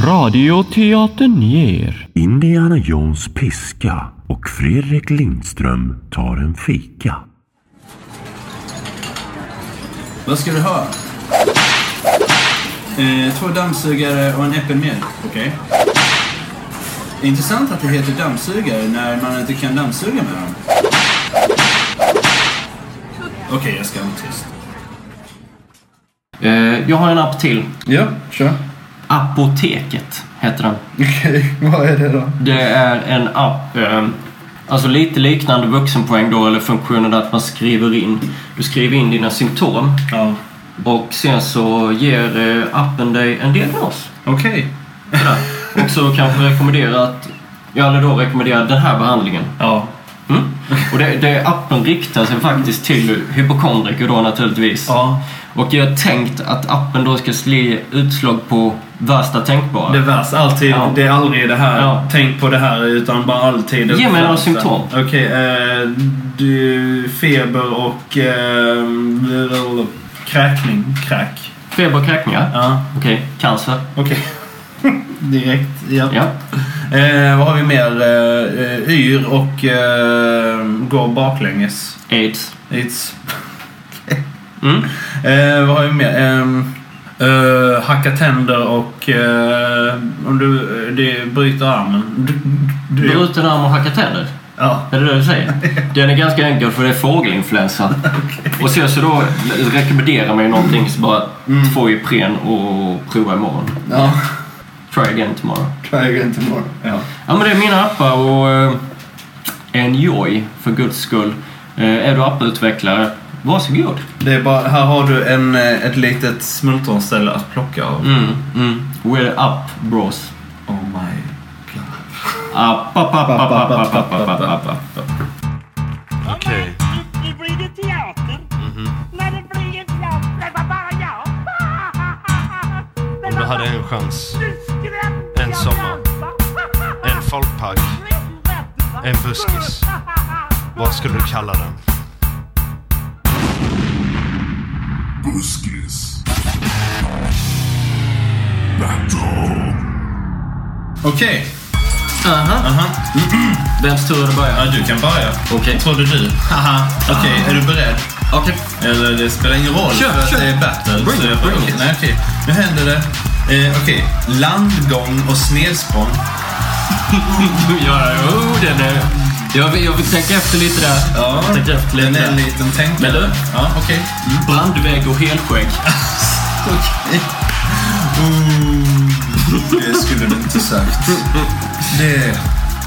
S4: Radioteatern ger.
S5: Indiana Jones piska och Fredrik Lindström tar en fika.
S1: Vad ska du ha? Eh, två dammsugare och en äppelmjölk. Okej. Intressant att det heter dammsugare när man inte kan dammsuga med dem. Okej, jag ska vara tyst.
S2: Eh, jag har en app till.
S1: Ja, kör.
S2: Apoteket heter den.
S1: Okej, vad är det då?
S2: Det är en app, eh, alltså lite liknande vuxenpoäng då, eller funktionen att man skriver in. Du skriver in dina symptom
S1: Ja.
S2: och sen så ger eh, appen dig en diagnos.
S1: Okej.
S2: Sådär. Och så kanske rekommendera att, ja eller då rekommendera den här behandlingen.
S1: Ja.
S2: Mm. Och det, det appen riktar sig faktiskt till hypokondriker då naturligtvis.
S1: Ja.
S2: Och jag har tänkt att appen då ska slå utslag på värsta tänkbara.
S1: Det är värst. Alltid,
S2: Ja.
S1: Det är aldrig det här,
S2: Ja.
S1: tänk på det här, utan bara alltid. det
S2: Ge mig några
S1: värsta.
S2: symptom.
S1: Okej, eh, du, feber och eh, kräkning. Kräk.
S2: Feber och kräkningar?
S1: Ja,
S2: Okej, cancer.
S1: okej. [LAUGHS] Direkt. Ja.
S2: Ja.
S1: Eh, vad har vi mer? Eh, eh, yr och eh, går baklänges.
S2: Aids.
S1: It's...
S2: Mm.
S1: Eh, vad har vi mer? Ehm, eh, hacka tänder och eh, om du eh, det bryter armen. Du, du, du,
S2: Bruten arm och hackat tänder.
S1: ja.
S2: Är det det du [LAUGHS] säger? Den är ganska enkel för det är fågelinfluensa. Och sen så då rekommenderar man ju någonting så bara två Ipren och prova imorgon.
S1: Ja.
S2: Try again tomorrow.
S1: Try again tomorrow. Ja.
S2: Ja men det är mina appar och eh, enjoy för guds skull. Eh, är du apputvecklare, varsågod.
S1: Det är bara, här har du en, eh, ett litet smultronställe att plocka av.
S2: Mm, mm. We're up bros.
S1: Oh my god.
S2: App, app, app, app, app, app, app, app, app, app.
S7: Okej. Det blir det teater.
S8: Mhm.
S7: När det blir en teater, det var bara jag.
S8: Om du hade en chans,
S7: Nu skrämde
S8: en
S7: jag
S8: sommar,
S7: grabbar.
S8: en folkpark, en buskis. vad skulle du kalla den?
S1: Okej.
S2: Aha.
S1: Aha.
S2: [CLEARS THROAT] Vems tur är det att börja?
S1: Ja, du kan börja.
S2: Okej.
S1: Trodde du. Haha. Okej, är du beredd?
S2: Okej.
S1: Eller det spelar ingen roll
S2: Kör,
S1: för att
S2: kör.
S1: det är battle.
S2: Bring
S1: så
S2: it,
S1: jag får-
S2: bring it.
S1: Nej, okej. Nu händer det. Eh, okej. Landgång och snedsprång.
S2: Ja, jo, den är... Jag vill, jag vill tänka efter lite där.
S1: Ja,
S2: Jag tänker efter lite
S1: den är en
S2: där.
S1: liten tänkare.
S2: Men du?
S1: Ja, okej.
S2: Brandvägg och helskägg. [LAUGHS]
S1: Ooh, Det skulle du inte sagt. Det,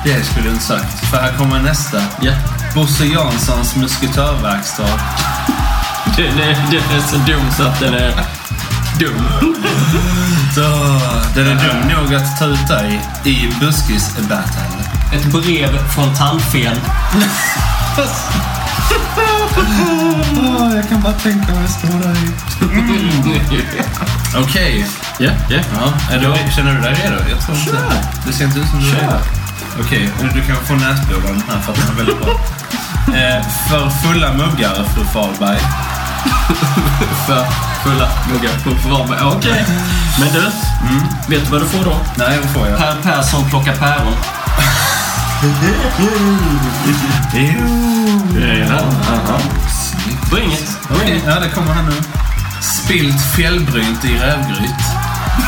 S1: det skulle du inte sagt. För här kommer nästa.
S2: Ja,
S1: Bosse Janssons musketörverkstad.
S2: den är, den är så dum så att den är dum.
S1: Så, Den är dum nog att ta ut dig i buskis-battle.
S2: Ett brev från tandfen.
S1: jag kan bara tänka mig stå där i.
S2: [LAUGHS]
S1: Okej.
S2: Ja, Mm. ja.
S1: Ja, är du, känner du dig redo? Jag tror inte Kör. Det ser inte ut som du är
S2: Kör.
S1: redo. Okej, du kan få näsblod här för att den är väldigt
S2: [LAUGHS]
S1: bra. Eh, för fulla muggar, fru
S2: [LAUGHS]
S1: Fahlberg.
S2: För fulla muggar på förvarme. Okej. Men du, vet du vad du får då?
S1: Mm. Nej, vad får jag?
S2: Per Persson plockar päron. Aha. Bring it. Bring
S1: Okej,
S2: it.
S1: ja det kommer här nu. Spilt fjällbrynt i rävgryt.
S2: [LAUGHS]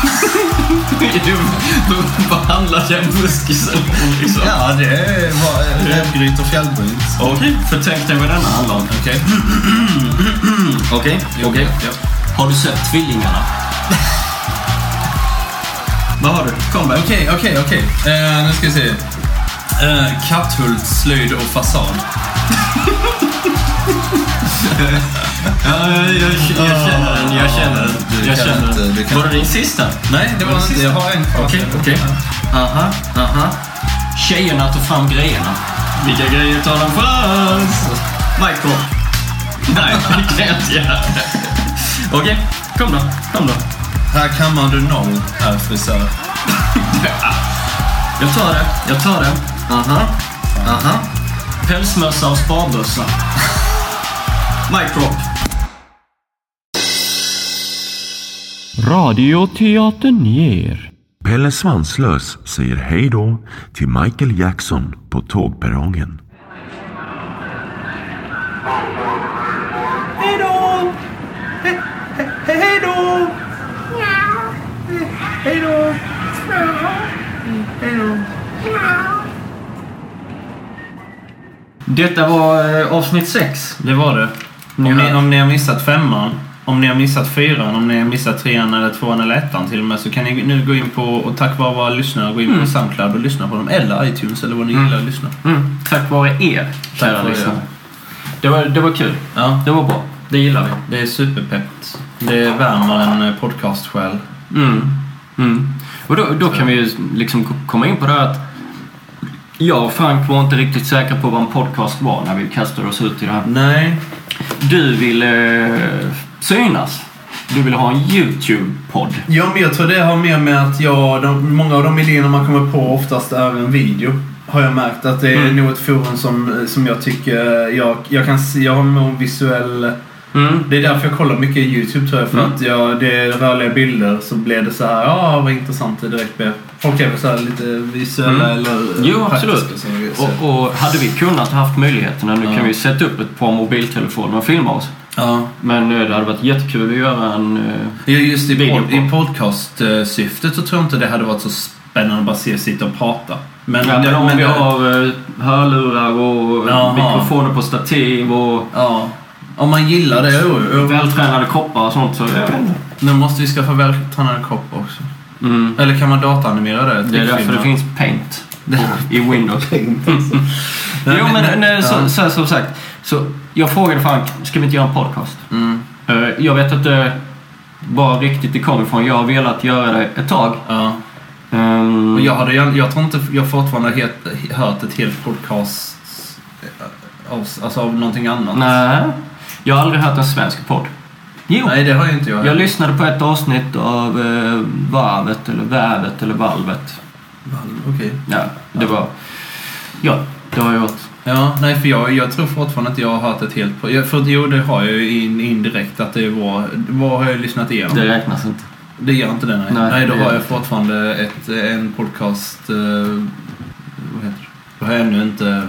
S2: Vad handlar den buskisen om liksom?
S1: Ja, det var eh, rävgryt och fjällbrynt.
S2: Okej, för tänk dig vad denna handlar om.
S1: Okej. [CLEARS THROAT]
S2: Okej, okej.
S1: Ja.
S2: Har du sett Tvillingarna? vad har du? Kom där.
S1: Okej, okej, okej. Eh, Nu ska vi se. Eh, Katthult, slöjd och fasad.
S2: [LAUGHS] Ja, jag, jag, jag känner den, jag känner
S1: Ah, Du
S2: den. Jag
S1: kan
S2: känner
S1: inte, du
S2: den.
S1: kan
S2: Var det din sista?
S1: Nej, det var
S2: den
S1: inte.
S2: sista?
S1: Jag har en kvar.
S2: Okej, okej. Aha, aha. Tjejerna tar fram grejerna. Vilka grejer tar de fram? Michael. Nej, det kan jag inte göra. Okej, kom då. Kom då.
S1: Här kammar du noll, herr frisör.
S2: [LAUGHS] Jag tar det, jag tar det. Aha, aha. Pälsmössa
S1: [LAUGHS]
S2: och sparbössa. Mic drop.
S4: Radioteatern ger.
S5: Pelle Svanslös säger hej då till Michael Jackson på tågperrongen.
S2: Detta var eh, avsnitt sex.
S1: eh, Det var det. Om ni, om ni har missat femman Om ni har missat fyran, om ni har missat trean eller tvåan eller ettan till och med så kan ni nu gå in på, och tack vare våra lyssnare, gå in på Soundcloud och lyssna på dem. Eller iTunes eller vad ni gillar att lyssna.
S2: Mm. Tack vare er, kära
S1: vare er.
S2: lyssnare. Det var, det var kul.
S1: Ja,
S2: Det var bra. Det gillar vi.
S1: det är superpeppt. Det värmer en eh, podcastsjäl.
S2: Mm. Mm. Och då, då kan vi ju liksom ko- komma in på det här att jag och Frank var inte riktigt säkra på vad en podcast var när vi kastade oss ut i det här.
S1: Nej.
S2: Du ville eh, synas. Du ville ha en YouTube-podd.
S1: Ja, men jag tror det har mer med att jag, de, många av de idéerna man kommer på oftast är en video. Har jag märkt att det är
S2: Mm.
S1: nog ett forum som, eh, som jag tycker jag, jag kan se, jag har nog en visuell
S2: Mm.
S1: Det är därför jag kollar mycket YouTube tror jag. För
S2: Mm.
S1: att jag, det är rörliga bilder så blir det så här, ja vad intressant det direkt blir. Folk är väl så här lite visuella
S2: Mm.
S1: eller eh,
S2: Jo,
S1: praktiska
S2: absolut.
S1: som vi ser.
S2: Och, och hade vi kunnat haft möjligheterna, nu
S1: Ja.
S2: kan vi sätta upp ett par mobiltelefoner och filma oss.
S1: ja.
S2: Men eh, det hade varit jättekul att göra en... eh,
S1: Ja, Just i,
S2: Video
S1: pod,
S2: på.
S1: i podcast-syftet så tror jag inte det hade varit så spännande att bara se sitta och prata. Men,
S2: Ja, men om
S1: men-
S2: vi har eh, hörlurar och
S1: Jaha.
S2: mikrofoner på stativ och
S1: Ja. Om man gillar det, jo. jo.
S2: vältränade koppar och sånt så...
S1: Nu måste vi skaffa vältränade kopp också.
S2: Mm.
S1: Eller kan man dataanimera det?
S2: Det är därför det
S1: Trickfilmer.
S2: finns paint på- i Windows.
S1: [LAUGHS]
S2: [LAUGHS]
S1: Nej,
S2: Jo
S1: men-
S2: men nej,
S1: ja.
S2: så, så, här, som sagt. Så jag frågade Frank, ska vi inte göra en podcast?
S1: Mm.
S2: Eh, Jag vet inte var riktigt det kom ifrån. Jag har velat göra det ett tag.
S1: Ja.
S2: Ehm,
S1: Och jag, hade, jag, jag tror inte jag fortfarande har het, hört ett helt podcast eh, av, alltså av någonting annat.
S2: Nej, jag har aldrig hört en svensk podd. Jo,
S1: Nej, det har ju inte jag.
S2: jag lyssnade på ett avsnitt av eh, Varvet eller Vävet eller Valvet.
S1: Okej.
S2: Ja, det var... Ja, det har jag gjort.
S1: Ja, nej för jag, jag tror fortfarande inte jag har hört ett helt... po- Jag, för, jo, det har jag ju in, indirekt att det var... Vad har jag lyssnat igenom?
S2: Det räknas inte.
S1: Det gör inte det, nej.
S2: Nej,
S1: Nej, då
S2: det gör
S1: har jag
S2: inte.
S1: fortfarande ett, en podcast... Eh, vad heter det? Då har jag ännu inte...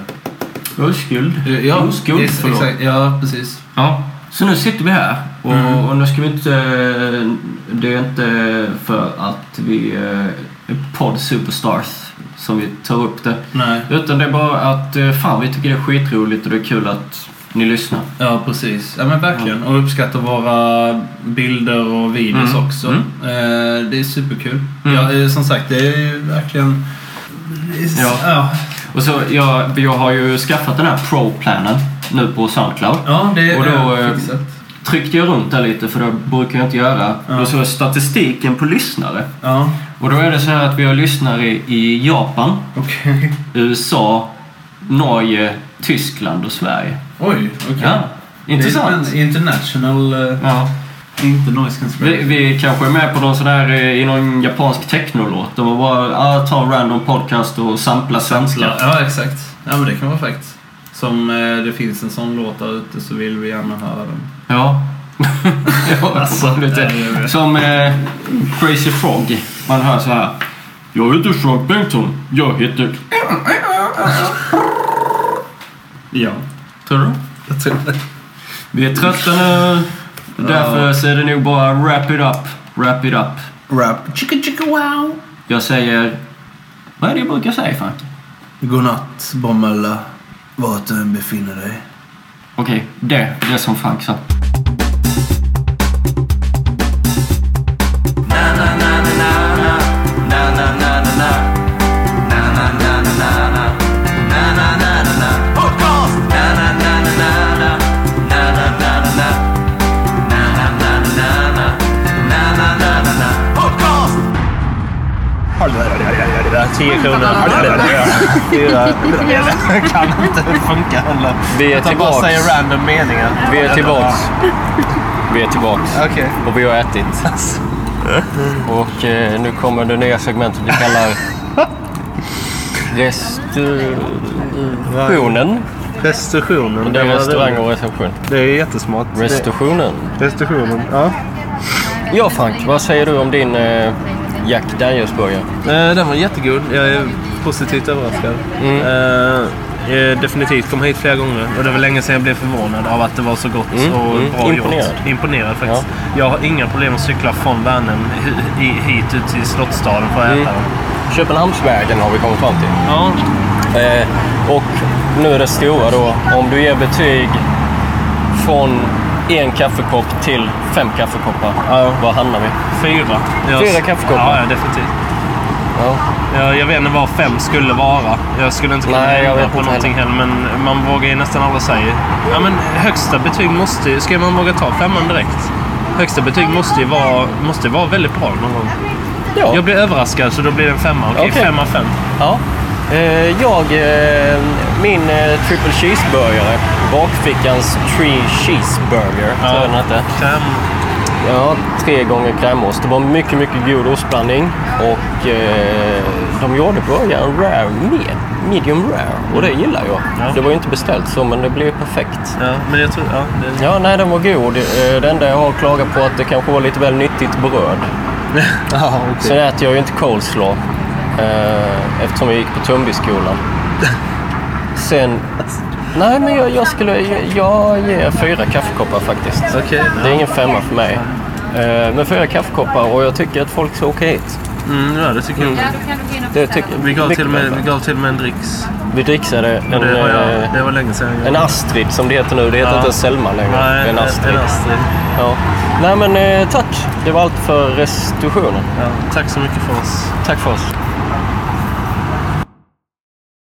S2: Oskuld.
S1: eh, Ja,
S2: Oskuld,
S1: yes,
S2: förlåt.
S1: exakt, ja, precis.
S2: Ja. Så nu sitter vi här och,
S1: Mm.
S2: och nu ska vi inte... eh, Det är inte för att vi eh, är podd superstars som vi tar upp det.
S1: Nej.
S2: Utan det är bara att eh, fan vi tycker det är skitroligt och det är kul att ni lyssnar.
S1: Ja, precis. Ja, men verkligen. Och uppskattar våra bilder och videos
S2: Mm.
S1: också.
S2: Mm.
S1: Eh, det är superkul.
S2: Mm.
S1: Ja, eh, som sagt, det är ju verkligen...
S2: Ja.
S1: ja.
S2: Och så, jag, jag har ju skaffat den här pro-planen nu på Soundcloud.
S1: Ja, det är
S2: Och då, eh,
S1: fixat.
S2: Tryckte jag runt där lite för det brukar jag inte göra.
S1: Ja.
S2: Då såg jag statistiken på lyssnare.
S1: Ja,
S2: Och då är det så här att vi har lyssnare i Japan,
S1: okej.
S2: USA, Norge, Tyskland och Sverige.
S1: [LAUGHS] Oj, okej.
S2: Ja, intressant.
S1: Det är en international... eh,
S2: Ja.
S1: Inte noise
S2: Vi,
S1: conspiracy.
S2: vi kanske är med på någon sån här eh, i någon japansk technolåt. De bara ah, ta en random podcast och sampla svenska.
S1: Ja, exakt. Ja, men det kan vara fräckt. Som eh, det finns en sån låt där ute så vill vi gärna höra den.
S9: [LAUGHS]
S2: Ja. ja
S1: Alltså,
S2: lite.
S1: det är det.
S2: Som eh, Crazy Frog. Man hör så här. Jag heter Frank Bengtsson. Jag heter...
S1: Ja,
S2: Tror du?
S1: jag tror det.
S2: Vi är trötta nu. Därför så är det nog bara wrap it up. Wrap it up.
S1: Rap. Chicka chicka wow.
S2: Jag säger... Vad är det jag brukar säga Frank?
S1: Godnatt, Bromölla. Vart du än befinner dig.
S2: Okej, det. Det som Frank sa.
S9: Vi är tillbaks. Jag säger random meningar. Vi är tillbaks.
S2: [LAUGHS]
S9: Vi är tillbaks. Och vi har ätit. Och eh, nu kommer det nya segmentet vi kallar Restitutionen.
S10: Restriktionen.
S9: Det är restaurang och reception.
S10: Det är jättesmart.
S9: Restitutionen.
S10: Restriktionen, ja.
S9: Ja Frank, vad säger du om din eh, Jack Daniels-burgare?
S10: Eh, den var jättegod. Jag är positivt överraskad.
S9: Mm.
S10: Eh, jag definitivt kom hit flera gånger. Och det var länge sedan jag blev förvånad av att det var så gott
S9: Mm,
S10: och
S9: mm.
S10: bra
S9: Imponerad.
S10: gjort. Imponerad faktiskt. Jag har inga problem att cykla från Värnhem hi- i- hit ut till Slottsstaden för
S9: Mm.
S10: att äta den.
S9: Köpenhamnsvägen har vi kommit fram till.
S10: Ja,
S9: Eh, och nu är det stora då. Om du ger betyg från
S2: en kaffekopp till fem kaffekoppar. Var hamnar vi?
S1: Fyra. Jag-
S2: Fyra kaffekoppar?
S1: Ja, ja definitivt. Jag, jag vet inte vad fem skulle vara. Jag skulle inte kunna
S2: Nej, jag
S1: ändra
S2: vet
S1: på
S2: inte
S1: någonting heller. Men man vågar ju nästan aldrig säga. Ja, men högsta betyg måste ju... Ska man våga ta femman direkt? Högsta betyg måste ju vara, måste vara väldigt bra någon gång.
S2: Ja.
S1: Jag blir överraskad så då blir det en femma. Okej,
S2: Okej.
S1: fem av fem.
S2: Ja. Eh, jag, eh, min eh, triple cheeseburgare, bakfickans tree cheeseburger, tror jag den hette. Ja, tre gånger krämost. Det var mycket, mycket god ostblandning och eh, de gjorde burgaren rare med, medium rare och det gillar jag. Det var ju inte beställt så men det blev ju perfekt.
S1: Ja, men jag tror... Ja, det...
S2: Ja, nej den var god. Eh, Det enda jag har klagat på är att det kanske var lite väl nyttigt
S1: [LAUGHS]
S2: bröd. Sen äter jag ju inte coleslaw eh, eftersom jag gick på
S1: [LAUGHS]
S2: Tumbyskolan. Sen... Nej, men jag, jag skulle... Jag ger fyra kaffekoppar faktiskt.
S1: Okej.
S2: Det är ingen femma för mig. Eh, men fyra kaffekoppar och jag tycker att folk ska åka hit.
S1: Mm, ja, det tycker jag.
S2: Det tycker,
S1: Vi gav,
S2: mycket
S1: till och med,
S2: bra.
S1: vi gav till och med en dricks.
S2: Vi dricksade en,
S1: Ja, det, har
S2: eh,
S1: jag, det var länge sedan. jag-
S2: en Astrid som det heter nu. Det heter
S1: Ja.
S2: inte en Selma längre.
S1: Nej,
S2: det är en Astrid.
S1: En Astrid.
S2: Ja. Nej, men eh, tack. Det var allt för restitutionen.
S1: Ja, tack så mycket för oss.
S2: Tack för oss.